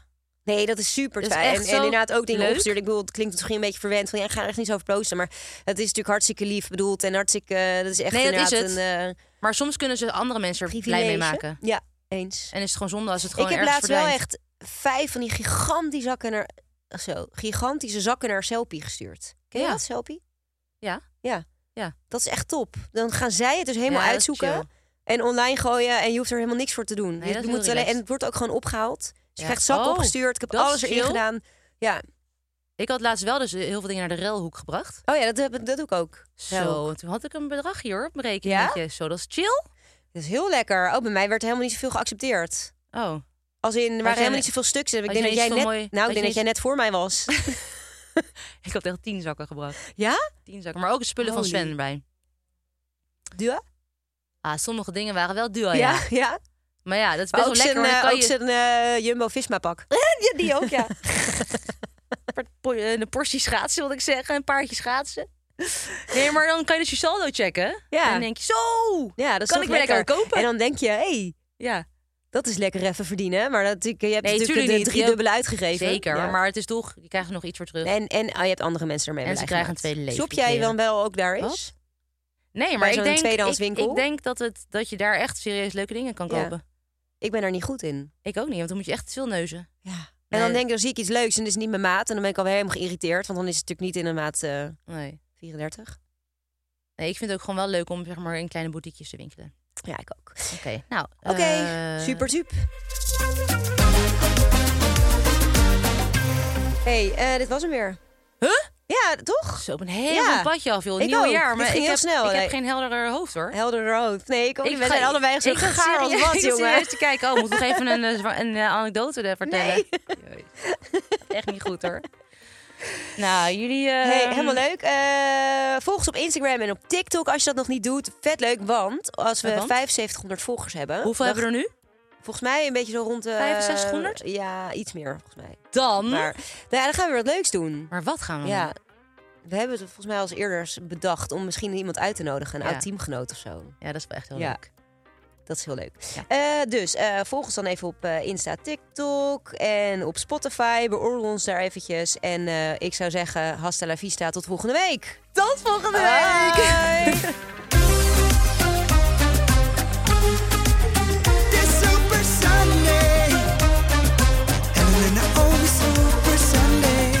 Nee, dat is super
Dat is
fijn.
echt
En, en
zo
inderdaad ook dingen
leuk.
opgestuurd. Ik bedoel, het klinkt misschien een beetje verwend. Van, ja, ik ga er echt niet zo over proosten. Maar het is natuurlijk hartstikke lief bedoeld. En hartstikke, eh, dat is echt
Nee, dat is
inderdaad
het.
een eh,
Maar soms kunnen ze andere mensen er blij
privilege.
mee maken.
Ja, eens.
En is het gewoon zonde als het
Ik
gewoon
heb
ergens
laatst wel
verdwijnt.
echt vijf van die gigantische zakken naar... Zo, gigantische zakken naar Selpie gestuurd. Ken je
Ja.
dat, Selpie?
Ja.
Ja.
Ja.
Dat is echt top. Dan gaan zij het dus helemaal
Ja, dat is
uitzoeken.
chill.
En online gooien en je hoeft er helemaal niks voor te doen.
Nee,
je
dat is heel
moet alleen- en
relaxed.
het wordt ook gewoon opgehaald. Dus je
Ja.
krijgt zakken
Oh,
opgestuurd. Ik heb
dat is
alles erin
chill.
gedaan. Ja.
Ik had laatst wel dus heel veel dingen naar de relhoek gebracht.
Oh ja, dat, heb ik- dat doe ik ook.
Zo, en toen had ik een bedragje hoor op mijn rekeningetje. Zo, dat is chill.
Dat is heel lekker. Oh, bij mij werd helemaal niet zoveel geaccepteerd.
Oh,
Als in, er waren
jij
helemaal
net-
niet zoveel stuks. Ik
had
denk
jij
dat
niet
jij net,
zoveel mooie-
nou,
had
ik
je
denk dat jij
niet-
net voor mij was.
ik had echt tien zakken gebracht.
ja?
Tien zakken, maar ook spullen van
Holy.
Sven erbij.
Dua?
Ah, sommige dingen waren wel duur, Oh, ja.
ja, ja.
Maar ja, dat is
Maar
best
ook
wel lekker.
zijn,
want dan
eh,
kan
ook
je
zijn eh, Jumbo-Visma-pak. ja, die ook, ja.
per- po- eh, een portie schaatsen, wil ik zeggen. Een paardje schaatsen. Nee, maar dan kan je dus je saldo checken.
Ja.
En dan denk je, zo!
ja, dat is
Kan
toch
ik weer lekker kopen?
En dan denk je, hé, hey,
Ja,
dat is lekker even verdienen. Maar dat, je hebt natuurlijk
tuurlijk
de
niet.
drie
Je-
dubbele uitgegeven.
zeker.
Ja.
Maar het is toch, je krijgt er nog iets voor terug. Nee,
En, en ah, je hebt andere mensen ermee
En ze
blij
krijgen
gemaakt.
een tweede leven,
Shop
die
jij dan
kleren.
wel ook daar eens?
Wat? maar ik
zo'n
denk,
tweedehands
ik,
winkel?
ik denk dat, het, dat je daar echt serieus leuke dingen kan
Ja.
kopen.
Ik ben daar niet goed in.
Ik ook niet, want dan moet je echt veel neuzen.
Ja. En
Nee.
dan denk ik, dan zie ik iets leuks en dat is niet mijn maat. En dan ben ik alweer helemaal geïrriteerd. Want dan is het natuurlijk niet in een maat eh,
Nee.
34.
nee, ik vind het ook gewoon wel leuk om zeg maar, in kleine boutiquejes te winkelen.
Ja, ik ook.
Oké, nou.
Oké,
eh,
super super. hey, eh, dit was hem weer.
Huh?
Ja, toch?
Zo op een heel
Ja.
padje af, joh.
Ik
Nieuw
ook.
jaar.
Dit
Maar
ging
ik,
heel
heb,
snel,
ik
nee.
heb geen helder hoofd, hoor.
Helder rood. Nee, ik ook. niet.
Ik
We
ga-
zijn allebei echt zo
ik zat
gaar als
serieus-
wat,
ik zat
jongen.
serieus te kijken. Oh, moet nog even een, eh, zwa- een eh, anekdote eh, vertellen.
Nee.
Jezus. Echt niet goed, hoor. Nou, jullie... eh,
Hey, helemaal leuk. Eh, volg ons op Instagram en op TikTok als je dat nog niet doet. Vet leuk, want als we
Want?
7500 volgers hebben...
Hoeveel
dan-
hebben we er nu?
Volgens mij een beetje zo rond... eh,
6500?
Ja, iets meer volgens mij.
Dan.
Maar
Maar,
nou ja, dan gaan we weer wat leuks doen.
wat gaan we
Ja,
doen?
we hebben het volgens mij al eens eerder eens bedacht... om misschien iemand uit te nodigen, een
Ja.
oud teamgenoot of zo.
Ja, dat is wel echt heel
Ja.
leuk.
Dat is heel leuk. Eh, dus eh volg ons dan even op eh, Insta, TikTok en op Spotify. Beoordeel ons daar eventjes. En eh, ik zou zeggen, hasta la vista, tot volgende week.
Tot volgende
Bye.
This Super Sunday. Evelyn, I always Super Sunday.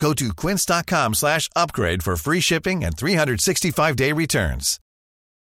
Go to quince.com slash upgrade for free shipping and 365-day returns.